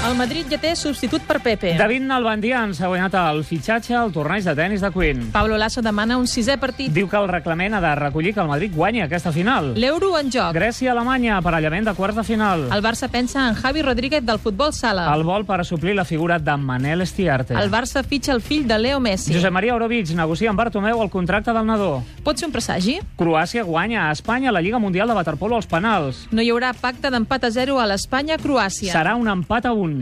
El Madrid ja té substitut per Pepe. David Nalbandian s'ha guanyat el fitxatge al torneig de tennis de Queen. Pablo Lasso demana un sisè partit. Diu que el reglament ha de recollir que el Madrid guanyi aquesta final. L'euro en joc. Grècia-Alemanya, aparellament de quarts de final. El Barça pensa en Javi Rodríguez del futbol sala. El vol per suplir la figura de Manel Estiarte. El Barça fitxa el fill de Leo Messi. Josep Maria Orovic negocia amb Bartomeu el contracte del nadó. Pot ser un presagi? Croàcia guanya a Espanya la Lliga Mundial de Waterpolo als penals. No hi haurà pacte d'empat a zero a l'Espanya-Croàcia. Serà un empat a un.